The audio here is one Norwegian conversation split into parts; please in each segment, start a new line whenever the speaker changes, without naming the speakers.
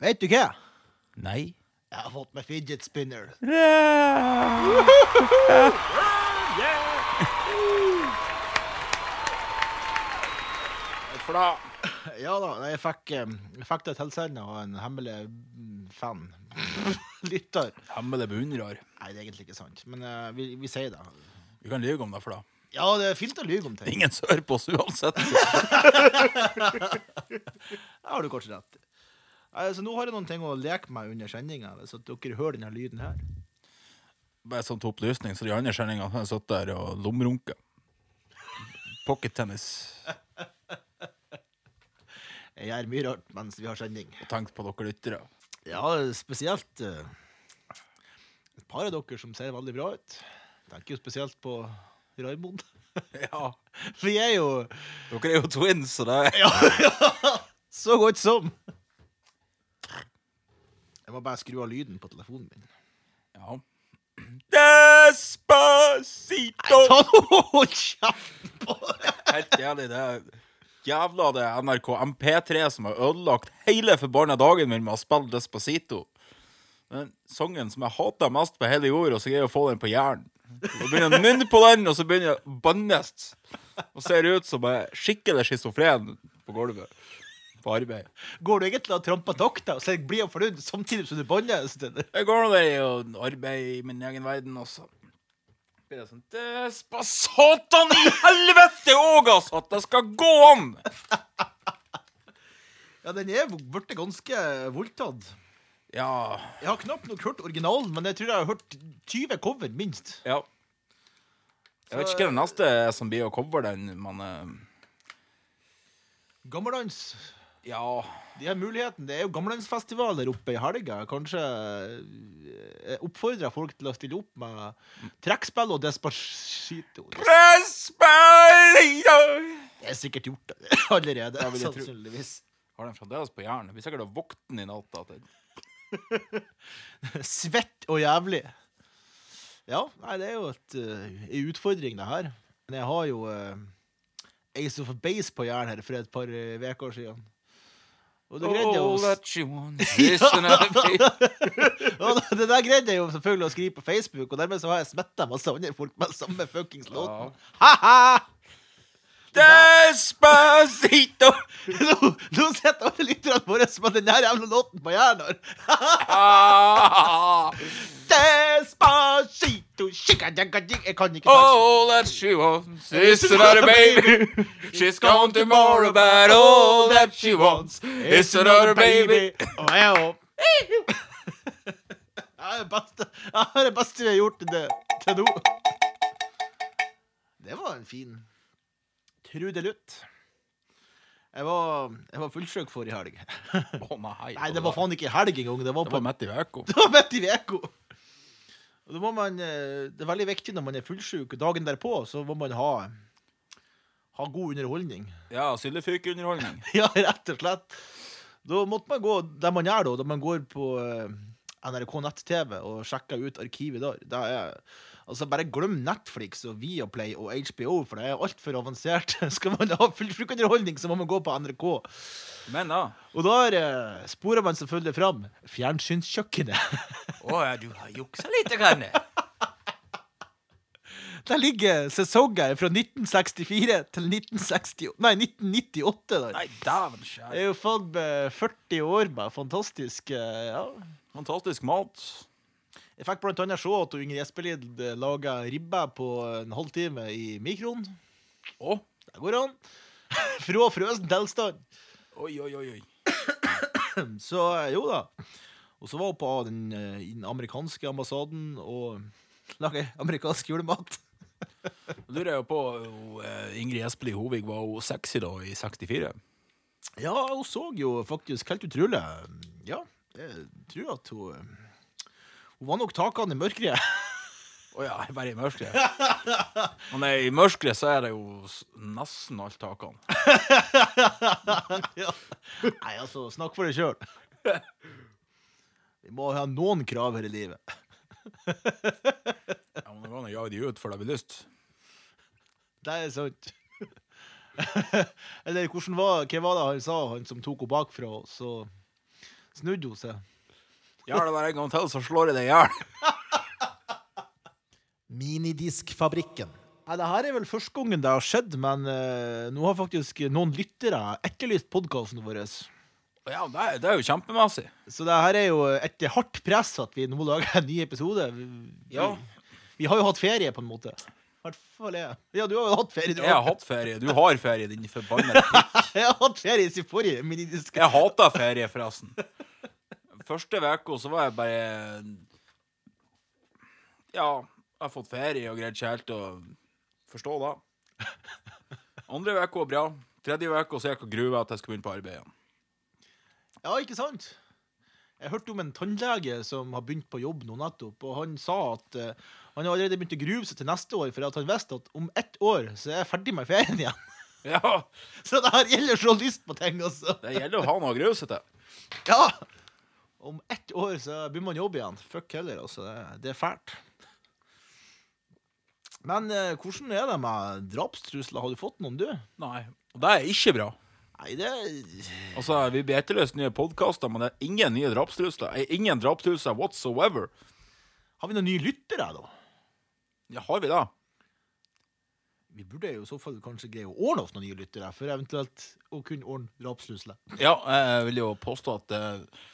Vet du hva?
Nei.
Jeg har fått meg fidget spinner.
For da
Ja da, jeg fikk, eh, jeg fikk det tilsendt av en hemmelig mm, fan. Lytter.
Hemmelig beundrer.
Nei, det er egentlig ikke sant, men eh, vi, vi sier det.
Vi kan lyve om det, for da
Ja, det er fint å lyve om
det er
ting.
ingen som hører på oss uansett.
Det har du kanskje rett i. Nei, Så nå har jeg noen ting å leke med under sendinga, hvis at dere hører denne lyden her.
Bare sånn til opplysning, så de andre kjenningene har satt der og lomrunka. Pocket-tennis.
Jeg gjør mye rart mens vi har sending.
Og tenkt på dere lyttere.
Ja, spesielt eh, et par av dere som ser veldig bra ut. Tenker jo spesielt på Raymond.
Ja.
Vi er jo
Dere er jo twins, så det er
så godt som. Jeg må bare skru av lyden på telefonen min.
Ja. Despacito!
Ta nå Hold kjeften på deg!
Helt jævlig, det er jævla det er NRK MP3 som har ødelagt hele forbanna dagen min med å spille Despacito. Den sangen som jeg hater mest på hele jord, og så greier jeg å få den på hjernen. Så begynner jeg å nynne på den, og så begynner jeg å bannes. Og ser ut som jeg er skikkelig schizofren på gulvet på arbeid.
Går du egentlig og tramper takta og ser blid og fornøyd samtidig som du banner? Stine?
Jeg går nå der og arbeider i min egen verden, og så blir det sånn Despa satan i helvete òg, altså! At det skal gå an!
Ja, den er blitt ganske voldtatt.
Ja.
Jeg har knapt nok hørt originalen, men jeg tror jeg har hørt 20 cover, minst.
Ja. Jeg vet ikke hva det neste er som blir å cover den, men eh,
Gammeldans.
Ja.
De har muligheten. Det er jo gammeldansfestivaler oppe i helga. Kanskje eh, jeg oppfordrer folk til å stille opp med trekkspill og despacito.
Desperado!
Det er sikkert gjort allerede.
Ja, vil jeg tro.
sannsynligvis.
Har den fremdeles på hjernen? Vi sikkert har våknet den i natt. da, til-
Svett og jævlig. Ja, nei, det er jo et, eh, en utfordring, det her. Men jeg har jo eh, Ace of Base på jern her for et par eh, uker siden. Og da greide jeg
All
å
that you want is another piece.
Ja, det- det der greide jeg jo selvfølgelig å skrive på Facebook, og dermed så har jeg smitta masse andre folk med samme fuckings låten. Ha-ha!
Despacito!
Nå, nå sitter alle lytterne våre som har den der jævla låten på hjernen.
Ah,
Despacito, shikadakadi- Jeg kan ikke norsk.
all that she wants is another baby. She's gone tomorrow, but all that she wants is another baby.
Og jeg òg. Det er det beste- det er det beste vi har gjort til det- til nå. Det var en fin trudelutt. Jeg var, jeg var fullsjuk forrige helg.
Å nei.
Nei, det var faen ikke helg engang. Det var
Det
på
var midt i uka.
det var midt i veko. Og da må man, eh, det er veldig viktig når man er fullsjuk. Dagen derpå så må man ha, ha god underholdning.
Ja, Syllefyk-underholdning.
Ja, rett og slett. Da måtte man gå der man gjør, da. Da man går på eh, NRK nett-TV og sjekker ut arkivet der. Det er, altså, bare glem Netflix og Viaplay og HBO, for det er altfor avansert. Skal man ha fullsjukunderholdning, så må man gå på NRK.
Men da
Og der eh, sporer man selvfølgelig fram fjernsynskjøkkenet.
Å ja, du har juksa lite grann.
Der ligger sesonger fra 1964 til 1960, nei, 1998. der.
Nei, dæven skjær.
Det er jo faen meg 40 år med fantastisk eh, ja,
Fantastisk mat.
Jeg fikk blant annet se at Inger Espelid laga ribbe på en halvtime i mikroen.
Å,
Der går han. Fra frossen tilstand.
oi, oi, oi. oi.
Så eh, jo da. Og så var hun på den, eh, i den amerikanske ambassaden og laga amerikansk julemat.
Da Lurer jeg jo på jo, eh, Ingrid Espelid Hovig, var hun sexy da i 64?
Ja, hun så jo faktisk helt utrolig Ja, jeg tror at hun eh, Hun var nok takene i mørket.
Å ja, bare i mørket. Men nei, i mørket så er det jo s- nesten alt takene.
ja. Nei, altså, snakk for deg sjøl. Vi må ha noen krav her i livet.
Ja, men det går an å jage de ut før det blir lyst.
Det er sant. Eller hvordan var, hva var det han sa, han som tok henne bakfra? Så Snudde hun seg.
Gjør det bare en gang til, så slår jeg deg i hjel.
Minidiskfabrikken.
Nei, det her er vel første gangen det har skjedd, men eh, nå har faktisk noen lyttere etterlyst podkasten vår.
Ja, det er, det er jo kjempemessig.
Så det her er jo et hardt press at vi nå lager en ny episode. Vi,
Ja.
vi har jo hatt ferie, på en måte. I hvert fall jeg. Ja, du har jo hatt ferie, du
Jeg har
òg.
hatt ferie. Du har ferie, din forbannede pikk.
Jeg har hatt ferie siden forrige minidisk.
Jeg hater ferie, forresten. Første uka så var jeg bare Ja, jeg har fått ferie og greide ikke helt å forstå det. Andre uka var bra. Tredje uka så gikk jeg og grua at jeg skulle begynne på arbeid igjen.
Ja, ikke sant? Jeg hørte om en tannlege som har begynt på jobb nå nettopp, og han sa at eh, han har allerede begynt å grue seg til neste år, for at han visste at om ett år så er jeg ferdig med ferien igjen.
Ja,
Så det her gjelder så lyst på ting, altså.
det gjelder å ha noe å grue seg til.
Ja! Om ett år så begynner man å jobbe igjen. Fuck heller, altså. Det- Det er fælt. Men eh, hvordan er det med drapstrusler? Har du fått noen, du?
Nei, og det er ikke bra.
Nei, det
Altså, Vi blir etterlyst nye podkaster, men det er ingen nye drapstrusler. Eh, Ingen drapstrusler whatsoever.
Har vi noen nye lyttere, da?
Ja, har vi det?
Vi burde jo i så fall kanskje greie å ordne oss noen nye lyttere, for eventuelt å kunne ordne drapstrusler.
Ja, jeg vil jo påstå at eh,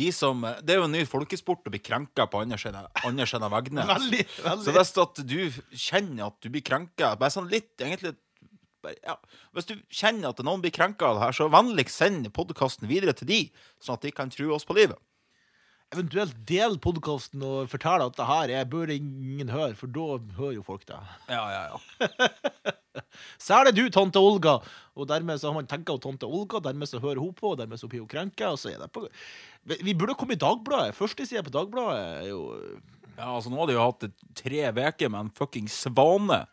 de som eh, Det er jo en ny folkesport å bli krenka på andre siden andre siden av veggene.
Veldig,
Så
veldig.
hvis at du kjenner at du blir krenka Bare sånn litt, egentlig bare, ja. Hvis du kjenner at noen blir krenka av det her, så vennligst send podkasten videre til de, sånn at de kan true oss på livet.
Eventuelt del podkasten og fortell at det her er burde ingen høre, for da hører jo folk det.
Ja, ja, ja.
Særlig du, tante Olga! Og dermed så har man tenkt at tante Olga, dermed så hører hun på, og dermed så blir hun krenka, og så er det på Vi vi burde komme i Dagbladet. Førstesida på Dagbladet er jo
Ja, altså Nå har de jo hatt et- tre uker med en fucking svane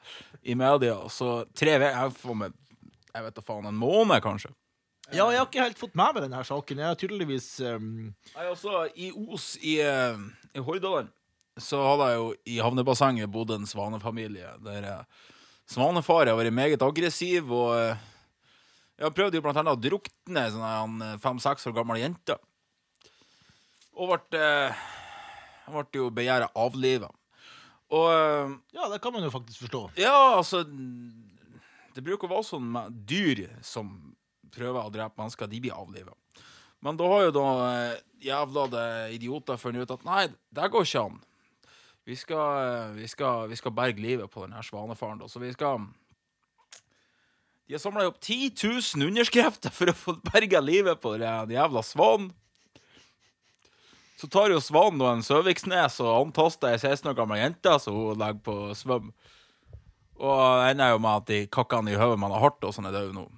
i media. Så tre uker Jeg vet da faen. En måned, kanskje.
Ja, jeg har ikke helt fått med meg denne saken. Jeg har tydeligvis um,
Nei, altså, I Os i, eh, i Hordaland så hadde jeg jo i havnebassenget bodd en svanefamilie. Der eh, svanefar har vært meget aggressiv, og eh, jeg prøvde jo blant annet å drukne ei sånn her, en fem-seks år gammel jente. Og ble, eh, ble jo begjæret avlivet. Og eh,
Ja, det kan man jo faktisk forstå.
Ja, altså Det bruker å være sånn med dyr som prøver å drepe mennesker, de blir avliva. Men da har jo da eh, jævla de idioter funnet ut at nei, det går ikke an. Vi skal, eh, vi skal, vi skal berge livet på denne svanefaren, da, så vi skal De har samla opp 10 000 underskrifter for å få berga livet på den jævla svanen. Så tar jo svanen da en Søviksnes og antaster ei 16 år gammel jente så hun legger på svøm. Og det ender jo med at de kakkene i hodet man har hardt, og sånn er det jo nå.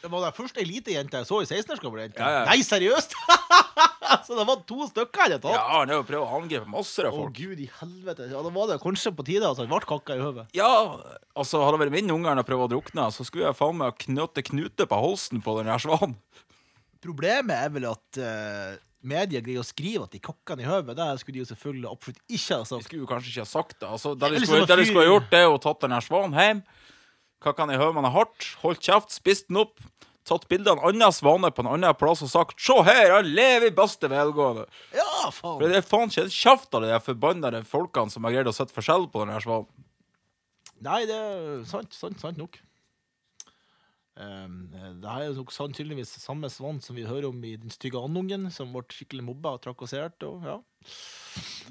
Det var den første elitejenta jeg så i 16-årsgaveljenta.
Ja, ja.
Nei, seriøst?! så det var to stykker jeg hadde tatt.
Ja, han har jo prøvd å angripe masser av
Å,
folk.
gud i helvete. Ja, Da var det kanskje på tide at han ble kakka i hodet.
Ja, altså, hadde det vært min unge han har prøvd å drukne, så skulle jeg faen meg ha knøttet knute på halsen på den her svanen.
Problemet er vel at eh, media greier å skrive at de kakka han i hodet. Det skulle de jo selvfølgelig absolutt ikke ha
Jeg
sagt.
skulle jo kanskje ikke ha sagt det. Altså,
Det er liksom vel som
det de skulle,
å
det de skulle ha
fyre-
gjort, det er jo tatt den her svanen hjem, kakket han i hodet man har hardt, holdt kjeft, spist den opp, tatt bilde av en annen svane på en annen plass og sagt 'Se her, han lever i beste velgående'.
Ja,
For
faen!
det er faen ikke en kjeft av de der forbannede folkene som har greid å sette forskjell på den her svanen.
Nei, det er sant, sant, sant nok. Um, det her er nok sannsynligvis samme svan som vi hører om i Den stygge andungen, som ble skikkelig mobba og trakassert. Og, ja.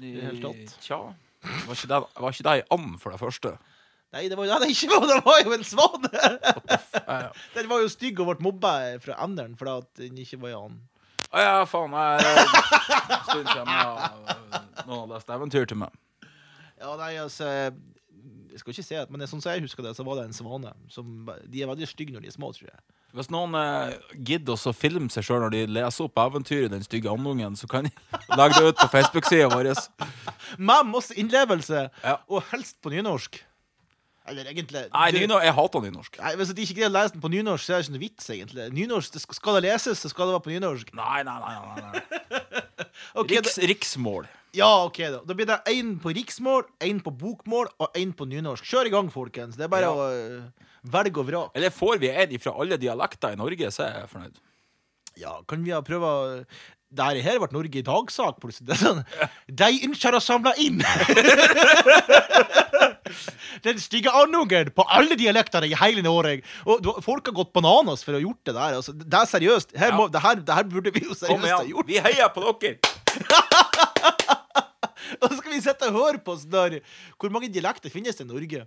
I
det hele tatt.
Tja. Var ikke det, var ikke det ei and, for det første?
Nei, det var, ja, det, er ikke, det var jo en svane!
Ja, ja.
Den var jo stygg og ble mobba fra enderen fordi at den ikke var i annen.
Å ja, faen. Jeg, en stund siden jeg, noen har lest eventyr til meg.
Ja, nei, altså Jeg skal ikke si at, men det er sånn som jeg husker det, så var det en svane. Som, de er veldig stygge når de er små, tror jeg.
Hvis noen eh, gidder også å filme seg sjøl når de leser opp eventyret 'Den stygge andungen', så kan de legge det ut på Facebook-sida vår.
Med masse innlevelse,
Ja.
og helst på nynorsk. Eller egentlig
Nei,
du-
nynorsk, jeg hater nynorsk.
Nei, Hvis de ikke greier å lese den på nynorsk, så er det ikke noe vits, egentlig. Nynorsk, det skal- Skal det leses, så skal det være på nynorsk.
Nei, nei, nei. nei, nei.
Ok,
Riks, riksmål.
da, ja, ok da. da blir det én på riksmål, én på bokmål og én på nynorsk. Kjør i gang, folkens. Det er bare
Ja.
å øh, velge og vrake.
Eller får vi en fra alle dialekter i Norge, så er jeg fornøyd.
Ja, kan vi ha prøvd det her- her ble Norge i dag-sak, plutselig. Det er sånn, De ønsker å samle inn den stygge andungen på alle dialektene i hele Norge. Og du- folk har gått bananas for å ha gjort det der. Altså, det er seriøst. Her må, det, her, det her burde vi jo
Kom
seriøst ha
igjen,
gjort.
vi heier på dere!
Og så skal vi sitte og høre på sånn der Hvor mange dialekter finnes det i Norge?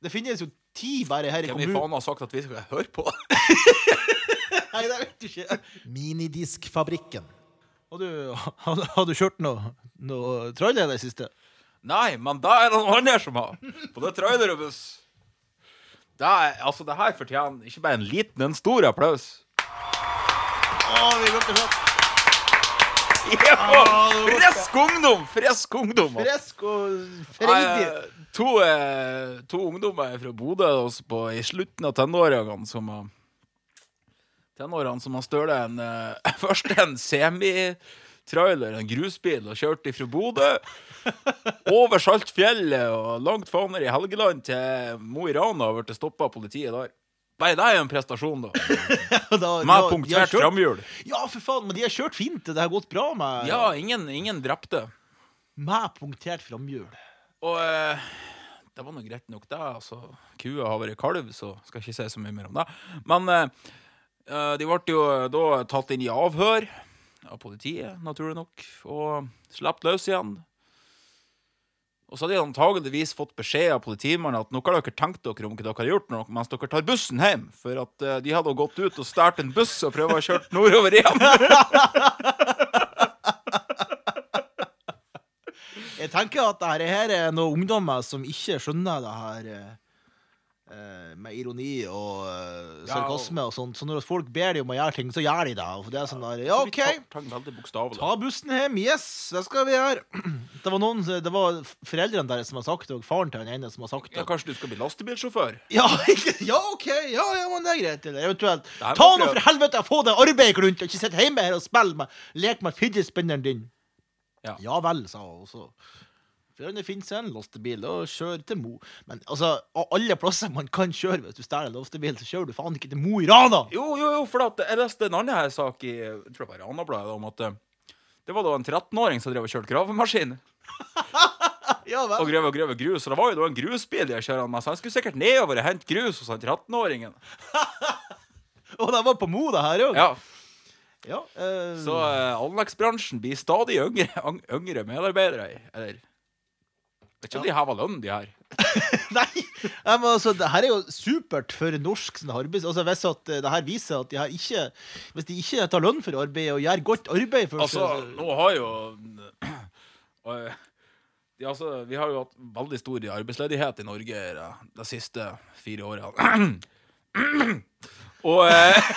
Det finnes jo ti bare her i
Hvem i
kommunen.
faen har sagt at vi skal høre på?
Nei, det vet du ikke.
Minidiskfabrikken.
Har du, har, har du kjørt noe, noe troll i det siste?
Nei, men da er det noen andre som har. På det trailerbuss. Det, er, altså, det her fortjener ikke bare en liten, en stor applaus.
Å, vi går til prat.
Ja,
Ah, det var
frisk ungdom! Frisk ungdom! altså.
Frisk og
Nei,
freidig.
eh, to, eh, to ungdommer fra Bodø også på, i slutten av tenårene som har Tenårene som har stjålet en eh, Først en semitrailer, en grusbil, og kjørt ifra Bodø over Saltfjellet og langt faen ned i Helgeland til Mo i Rana og blitt stoppa av politiet der. Nei, det er jo en prestasjon, da.
Og da- de har- de
Med
har
punktert
kjørt-
framhjul.
Ja, for faen, men de har kjørt fint. Det har gått bra med,
Ja, ingen, ingen drepte.
med punktert framhjul.
Og eh, det var nå greit nok, det. Altså, kua har vært kalv, så skal jeg ikke si så mye mer om det. Men eh, eh, de ble jo da tatt inn i avhør av politiet, naturlig nok, og sluppet løs igjen. Og så hadde de antageligvis fått beskjed av politimannen at nå har dere tenkt dere om hva dere har gjort nå, mens dere tar bussen hjem. For at eh, de hadde jo gått ut og stjålet en buss og prøvd å kjøre nordover igjen.
Jeg tenker at det her er noen ungdommer som ikke skjønner det her eh, eh, med ironi og eh,
Ja, og-
sarkasme og sånt. Så når folk ber dem om å gjøre ting, så gjør de det. Og det er sånn der, ja, OK,
Vi tar- tar den veldig bokstavelig.
ta bussen hjem. Yes, det skal vi gjøre. Det var noen, det var foreldrene deres som har sagt det, og faren til den ene som har sagt
Ja,
det.
kanskje du skal bli lastebilsjåfør?
Ja, ikke- ja OK, ja, ja, men det er greit. Eller eventuelt.
Det her
Ta
må
nå
prøve.
for helvete og få deg arbeid rundt, og ikke sitt hjemme her og spille med Lek med fidgetspinneren din.
Ja.
ja vel, sa hun også. For det finnes en lastebil, og kjør til Mo. Men altså, av alle plasser man kan kjøre hvis du stjeler en lastebil, så kjører du faen ikke til Mo i Rana!
Jo, jo, jo, for at jeg leste en annen her sak i jeg tror det var Ranabladet om at eh, det var da en 13-åring som drev og kjørte gravemaskin.
Ja
Og
vel.
grev og grev grus. Og det var jo da en grusbil de kjørte med, så han skulle sikkert nedover og hente grus hos han 13-åringen.
Og det var på Mo, det her òg.
Ja,
Ja, eh,
Så eh, anleggsbransjen blir stadig yngre, ang- yngre medarbeidere. i- Eller Vet ikke om de heva lønn, de her.
Nei! Ja, men altså, det her er jo supert for norsk sånn arbeids... Altså, hvis at eh, det her viser at de her ikke Hvis de ikke tar lønn for arbeidet og gjør godt arbeid for
Altså, nå har jo og, ja, altså, Vi har jo hatt veldig stor arbeidsledighet i Norge de, de siste fire årene. og eh,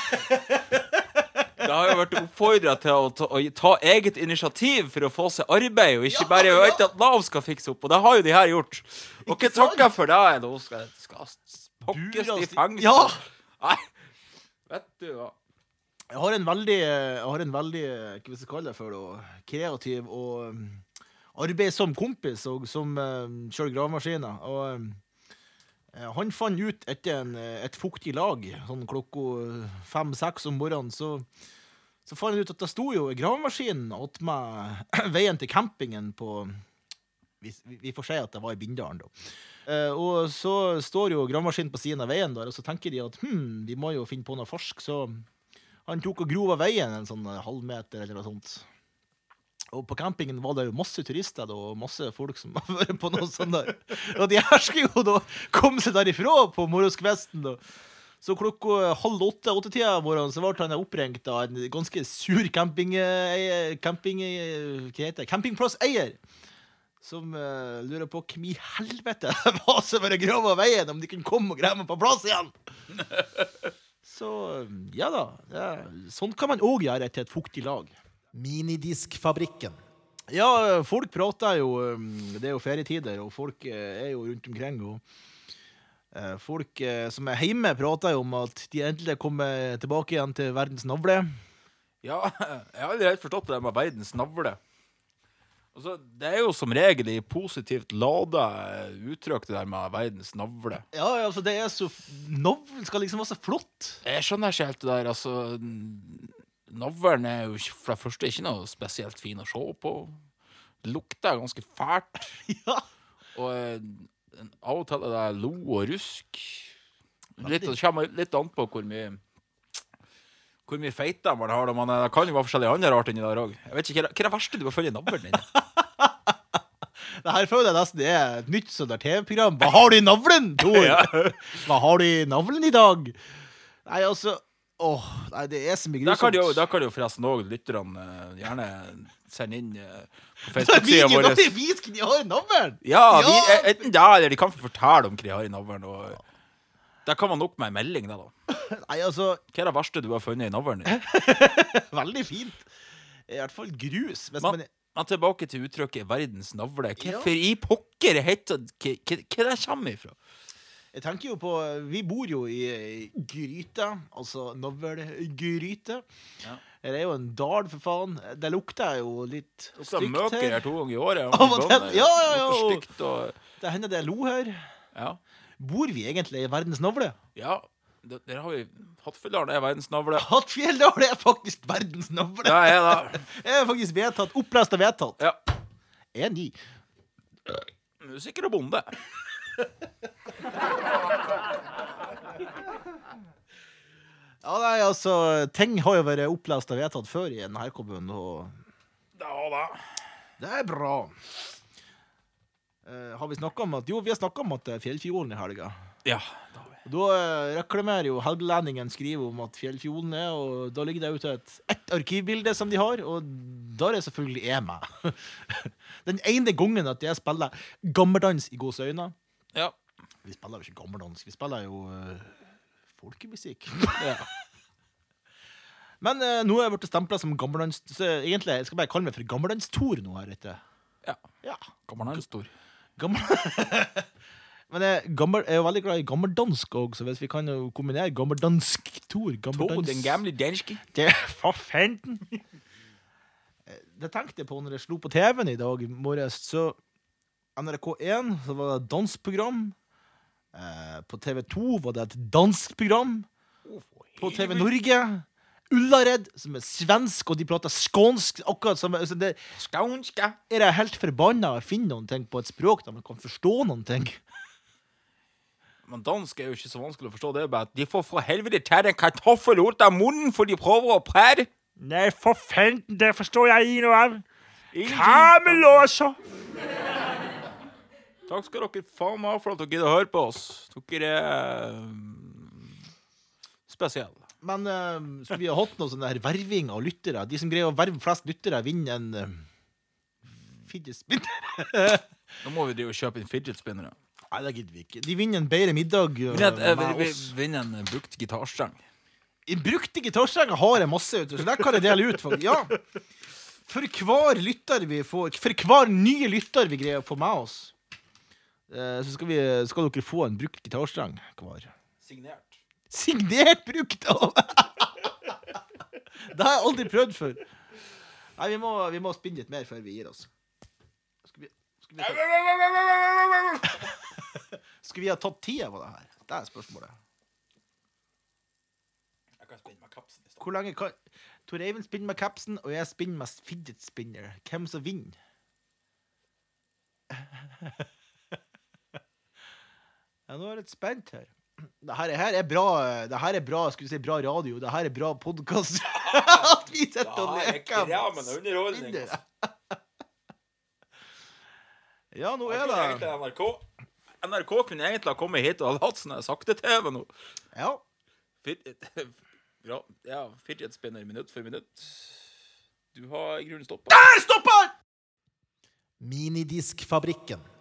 Det har jo vært oppfordra til å ta, å ta eget initiativ for å få seg arbeid, og ikke
Ja,
bare
ja.
vente at Nav skal fikse opp. Og det har jo de her gjort. Og hva
Ikke sant?
takker for det? Nå skal, skal pokkes
Duras-
i fangs.
Ja.
Nei, vet du hva.
Jeg har en veldig, jeg har en veldig eh, hva skal jeg kalle det for da, kreativ og um, arbeidsom kompis og, som eh, kjører gravemaskiner. Og um, eh, han fant ut etter en, eh, et fuktig lag sånn klokka fem-seks om morgenen, så, så fant han ut at det sto jo en gravemaskin attmed veien til campingen på vi, vi får si at det var i Bindalen, da. Eh, og så står jo gravemaskinen på siden av veien der, og så tenker de at hm, vi må jo finne på noe forsk, så han tok og grov av veien en sånn eh, halvmeter eller noe sånt. Og på campingen var det jo masse turister da, og masse folk som har vært på noe sånt der. Og de her skulle jo da komme seg derifra på morgenskvesten. da. Så klokka halv åtte, åttetida om morgenen, så ble han oppringt av en ganske sur campingeier camping, eh, Hva heter det? Campingplasseier. Som eh, lurer på hvem i helvete det var som var grava veien, om de kunne komme og grave meg på plass igjen. Så ja da. Det, er- sånn kan man òg gjøre etter et fuktig lag.
Minidiskfabrikken.
Ja, folk prater jo um, Det er jo ferietider, og folk eh, er jo rundt omkring. Og eh, folk eh, som er hjemme, prater jo om at de endelig kommer tilbake igjen til verdens navle.
Ja, jeg har aldri helt forstått det der med verdens navle. Altså, det er jo som regel i positivt lada uttrykk, det der med verdens navle.
Ja, ja, altså, det er så f- Navlen skal liksom være så flott.
Jeg skjønner ikke helt det der, altså Navlen er jo ikke- for det første ikke noe spesielt fin å se på. Lukter ganske fælt.
Ja.
Og eh, en- av og til er det lo og rusk. Litt, det kommer litt an på hvor mye hvor mye feite man har. da, Men eh, det kan jo være forskjellige andre arter inni der òg. Hva hva er det verste du har funnet i navlen din?
Det her føler jeg nesten er et nytt sånt der TV-program. Hva har du i navlen, Tor? Hva har du i navlen i dag? Nei, altså Åh, nei, det er så mye
Da kan jo,
grusomt.
da kan jo forresten òg lytterne eh, gjerne sende inn eh, på
Videoen
Facebook-sida vår.
av det visken de har i navlen!
Ja, vi,
Ja!
eh, enten det, eller de kan få fortelle om hva de har i navlen. Og... Der kan man nok med en melding, da. da.
Nei, altså,
Hva er det verste du har funnet i navlen? din?
veldig fint. I hvert fall grus. Hvis
Men,
man,
men tilbake til uttrykket 'verdens navle'.
Ja.
Hvorfor i pokker heter Hva hva det kommer ifra?
jeg tenker jo på Vi bor jo i ei gryte, altså navlegryte.
Ja.
Det er jo en dal, for faen. Det lukter jo litt
Så
stygt
møker her
her.
to ganger i året.
Av og til, ja, ja, ja,
Noe
og-
stygt og
Det hender det er lo her.
Ja.
Bor vi egentlig i verdens navle?
ja det- der har vi Hattfjelldalen er verdens navle.
Hattfjelldal er faktisk verdens navle!
Det er det.
Det er faktisk vedtatt. Opplest og vedtatt. E
Ja.
Enig.
Musiker og bonde.
Ja, nei, altså, ting har jo vært opplest og vedtatt før i denne kommunen, og
Ja da.
det er bra. Eh, har vi snakka om at Jo, vi har snakka om at det er Fjellfjorden i helga.
Ja, da har vi.
Og Da eh, reklamerer jo Helgelendingen skriver om at Fjellfjorden er, og da ligger det ute et, ett arkivbilde som de har, og der er selvfølgelig jeg med. Den ene gangen at jeg spiller gammeldans i gåseøyne
Ja.
Vi spiller jo ikke gammeldansk, vi spiller jo eh, folkemusikk.
ja.
Men eh, nå er jeg blitt stempla som gammeldans... Så egentlig jeg skal bare kalle meg for gammeldans-Tor nå her ute.
ja.
Ja.
Gammel er stor.
Gammel... Men jeg, gammel, jeg er jo veldig glad i gammeldansk òg, så hvis vi kan jo kombinere gammeldansk-Tor
To,
gammeldans-
den gamle danske.
Det for fanden! Eh, Det tenkte jeg på når jeg slo på TV-en i dag morges. Så NRK1 så var det et dansprogram. Eh, På TV2 var det et dansk program. På TV Norge. Ullared, som er svensk, og de prater skånsk. akkurat som, altså det,
Skaunska.
Er jeg helt forbanna å finne noen ting på et språk der man kan forstå noen ting?
Men dansk er jo ikke så vanskelig å forstå. Det er bare at de får for helvete ta den kartoffel ut av munnen, for de prøver å prate.
Nei, for fanden, det forstår jeg ikke noe av.
Kamelåser! Takk skal dere faen meg ha for at dere gidder å høre på oss. Dere er eh, spesielle.
Men eh, skulle vi ha hatt noe sånn der verving av lyttere? De som greier å verve flest lyttere, vinner en uh, fidget spinner.
Nå må vi drive og kjøpe inn fidget spinnere.
Nei, det gidder vi ikke. De vinner en bedre middag eh,
Vi eh,
med
vi-
oss.
vi vinner en eh, brukt gitarstreng.
I brukte gitarstrenger har jeg masse, vet du, så der kan jeg dele ut. Folk. Ja. For hver lytter vi får For hver nye lytter vi greier å få med oss, eh, så skal, vi, skal dere få en brukt gitarstreng hver.
Signert.
Signert brukt av Det har jeg aldri prøvd før. Nei, vi må, vi må spinne litt mer før vi gir oss. Skulle vi, skulle vi, ta, skulle vi ha tatt tida på det her? Det er spørsmålet. Hvor lenge kan Tor Eivind spinner med capsen, og jeg spinner med fidget spinner. Hvem som vinner? Ja, nå er jeg litt spent her. Det her, her er bra Det her er bra, skulle si, bra radio. Det her er bra podkast. At vi sitter og leker. med spinner.
altså.
Ja, nå er det
NRK. NRK kunne egentlig ha kommet hit og hadde hatt sånn her sakte-TV nå.
Ja.
Fidget, ja, ja, fidget spinner minutt for minutt. Du har i grunnen stoppa.
Stopper!
Minidiskfabrikken.